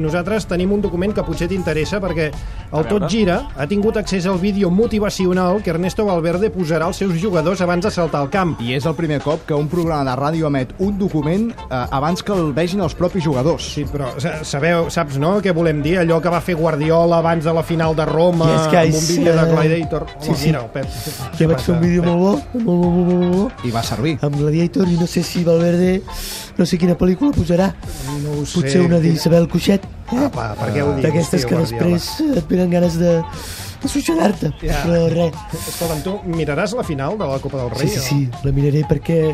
Nosaltres tenim un document que potser t'interessa perquè el Tot Gira ha tingut accés al vídeo motivacional que Ernesto Valverde posarà als seus jugadors abans de saltar al camp. I és el primer cop que un programa de ràdio emet un document eh, abans que el vegin els propis jugadors. Sí, però sa- sabeu, saps, no?, què volem dir? Allò que va fer Guardiola abans de la final de Roma, I és que amb un és, vídeo de eh, Gladiator. sí, Home, sí. Mira, el Pep. que vaig fer un vídeo molt bo, molt bo, molt bo, molt bo, I va servir. amb Gladiator i no sé si Valverde, no sé quina pel·lícula posarà. No ho sé. Potser una d'Isabel Cuixet, eh? Apa, per què ho dius, d'aquestes tio, que Ah, Guardiola? després eh, et venen ganes de, de suixenar-te. Ja. Però res, Escolta'm, tu miraràs la final de la Copa del sí, Rei? sí, sí, la miraré perquè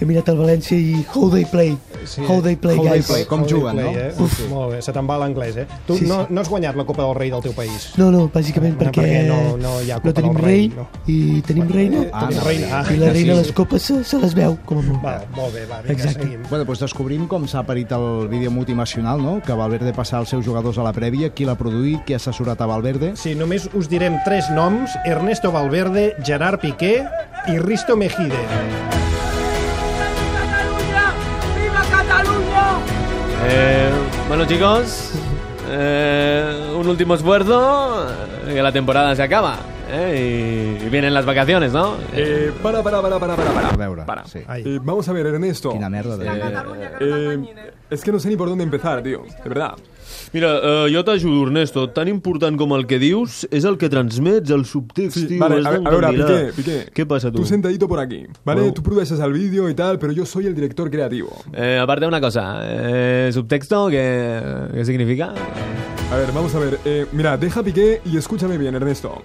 he mirat el València i how they play, Sí. how they play, How they guys. play. Com juguen, no? Eh? Uf. Molt bé, se te'n va l'anglès, eh? Tu Sí, sí. no, no has guanyat la Copa del Rei del teu país? No, no, bàsicament No, perquè, perquè no- no hi ha Copa no tenim del rei, Rei, no. i tenim reina, Ah, no. reina. i la reina sí, a sí. les copes se, se les veu, com a molt. Va, molt bé, va, vinga, Exacte. seguim. Bueno, doncs descobrim com s'ha parit el vídeo motivacional, no? Que Valverde passar als seus jugadors a la prèvia, qui l'ha produït, qui ha assessorat a Valverde. Sí, només us direm tres noms, Ernesto Valverde, Gerard Piqué i Risto Mejide. Cataluña! ¡Viva Cataluña! Eh, bueno chicos, eh, un último esfuerzo, eh, que la temporada se acaba eh, y, y vienen las vacaciones, ¿no? Eh, para, para, para, para, para, para. A veure, Para. sí. Ai, Eh, vamos a ver, Ernesto. Quina merda de... Eh, es que no sé ni por dónde empezar, tío. De verdad. Mira, eh, jo t'ajudo, Ernesto. Tan important com el que dius és el que transmets, el subtext, tio. vale, has a, ver- a ver, d'endevinar. Piqué, Piqué. Què passa, tu? Tú sentadito por aquí, ¿vale? Bueno. Tú produces al vídeo y tal, pero yo soy el director creativo. Eh, a part d'una cosa, eh, subtexto, què, què significa? A ver, vamos a ver. Eh, mira, deja a Piqué y escúchame bien, Ernesto.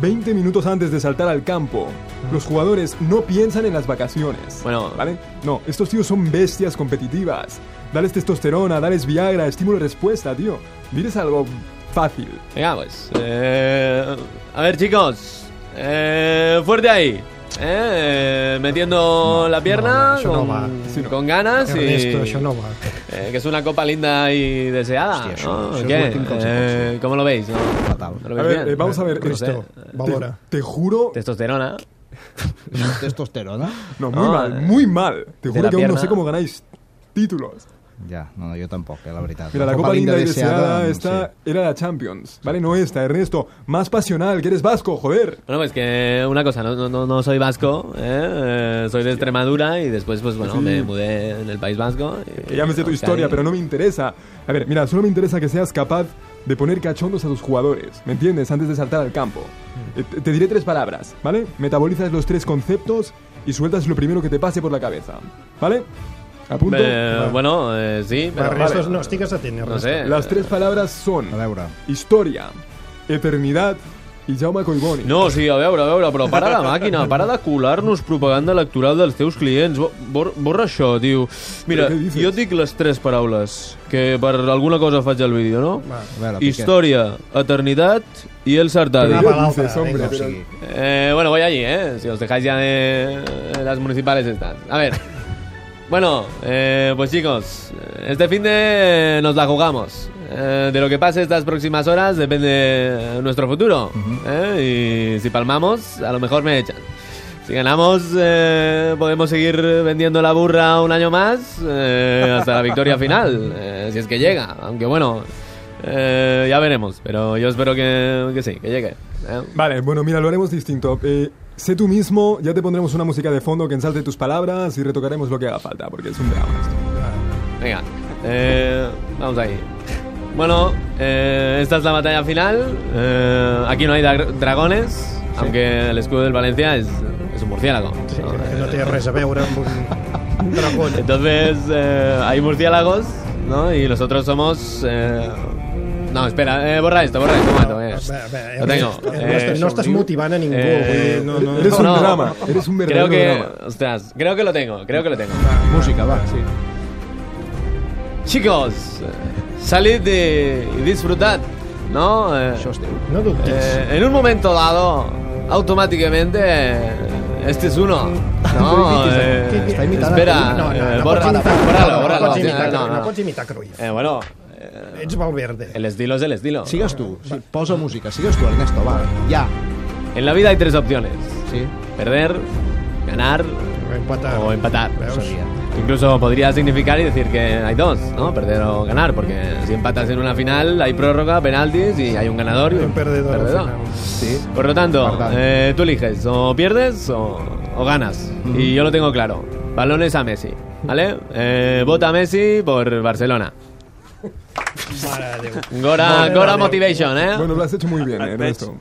20 minutos antes de saltar al campo, los jugadores no piensan en las vacaciones. Bueno. ¿Vale? No, estos tíos son bestias competitivas. Dales testosterona, dales Viagra, estímulo y respuesta, tío. Diles algo fácil. Vinga, pues... Eh, a ver, chicos, eh, fuerte ahí. Eh, metiendo la pierna no, no, això no con, va. Sí, no. con ganas Ernesto, y... això no va. Eh, que es una copa linda y deseada. Hostia, eso- ¿no? eso es ¿Qué? Latin Concert, Eh, ¿Cómo lo veis? no? Fatal. ¿No lo A veis ver, bien? eh, vamos a ver, No esto. sé. Valora. Te, te juro. Testosterona. Testosterona? No, muy No, mal, eh, muy mal. Te juro que la aún no pierna. sé cómo ganáis títulos. Ja, no, no, jo tampoc, eh, la veritat. Mira, la, Copa Linda y Deseada, no esta sé. era la Champions, ¿vale? No esta, Ernesto. Más pasional, que eres vasco, joder. Bueno, pues que una cosa, no, no- no, no soy vasco, ¿eh? Eh, soy de Extremadura y después, pues bueno, me mudé en el País Vasco. Que ya me sé tu historia, pero no me interesa. A ver, mira, solo me interesa que seas capaz de poner cachondos a tus jugadores, ¿me entiendes? Antes de saltar al campo. Mm. Eh, Te, te diré tres palabras, ¿vale? Metabolizas los tres conceptos y sueltas lo primero que te pase por la cabeza, ¿vale? A punto. bueno, eh, sí, Va, pero... Ernesto, no, estigues atent, no Ernesto. sé. Las tres palabras son A veure, historia, eternidad y Jaume Coiboni. No, sí, a veure, a veure, però para la màquina, para de colar-nos propaganda electoral dels teus clients. Bo- Bor borra això, tio. Mira, Però què dices? jo et dic les tres paraules, que per alguna cosa faig el vídeo, no? Va. a veure, Piqué. Història, eternitat i el ¿Qué Una Sartadi. Però- palabra, dices, hombre? venga. O Pero- sigui, Eh, bueno, voy allí, ¿eh? Si os dejáis ya de de las municipales estas. A ver. Bueno, eh, pues chicos, este fin de nos la jugamos. Eh, de lo que pase estas próximas horas depende nuestro futuro. ¿eh? Y si palmamos, a lo mejor me echan. Si ganamos, eh, podemos seguir vendiendo la burra un año más eh, hasta la victoria final, eh, si es que llega. Aunque bueno, eh, ya veremos. Pero yo espero que, que sí, que llegue. ¿eh? Vale, bueno, mira, lo haremos distinto. Eh, sé tú mismo, ya te pondremos una música de fondo que ensalte tus palabras y retocaremos lo que haga falta, porque es un drama esto. Venga, eh, vamos ahí. Bueno, eh, esta es la batalla final. Eh, aquí no hay dra- dragones, aunque el escudo del Valencia es, es un murciélago. Sí, ¿no? que no té res a veure amb un, un dragón. Entonces, eh, hay murciélagos, ¿no? Y nosotros somos... eh, No, espera, eh, borra esto, borra esto, un momento, eh. Va, va, Lo tengo. Ernesto, Eh, no estàs motivant a ningú. eh, vull dir, no, no, Eres no. un No. drama, eres un Creo verdadero que... drama. Ostras, creo que lo tengo, creo que lo tengo. música, va. Sí. Chicos, salid y, y disfrutad, ¿no? Eh, Això es teu. No dubtis. Eh, en un momento dado, automáticamente, eh, este es uno. No, eh, Que- que- Está imitada espera, No, no, eh, no borra- pots imitar- bórralo, no, bórralo, No pots sí, imitar, no, no. no pots imitar Cruyff. Eh, bueno, eh, Ets Valverde. el estilo es el estilo. Sigues tu, sí, posa música, sigues tu, Ernesto, va, ja. En la vida hay tres opciones: Sí, perder, ganar Empatar. o empatar. ho Veus? sabia. Incluso podría significar y decir que hay dos, ¿no? Perder o ganar, porque si empatas en una final hay prórroga, penaltis y hay un ganador y Hay un perdedor al final. Sí. Por lo tanto, Verdad. eh, tú eliges o pierdes o, o ganas. Y yo lo tengo claro. Balones a Messi, ¿vale? Eh, vota a Messi por Barcelona. Mare de Déu. Gora, Gora Motivation, ¿eh? Bueno, lo has hecho muy bien, eh, Ah, Et veig, Ernesto.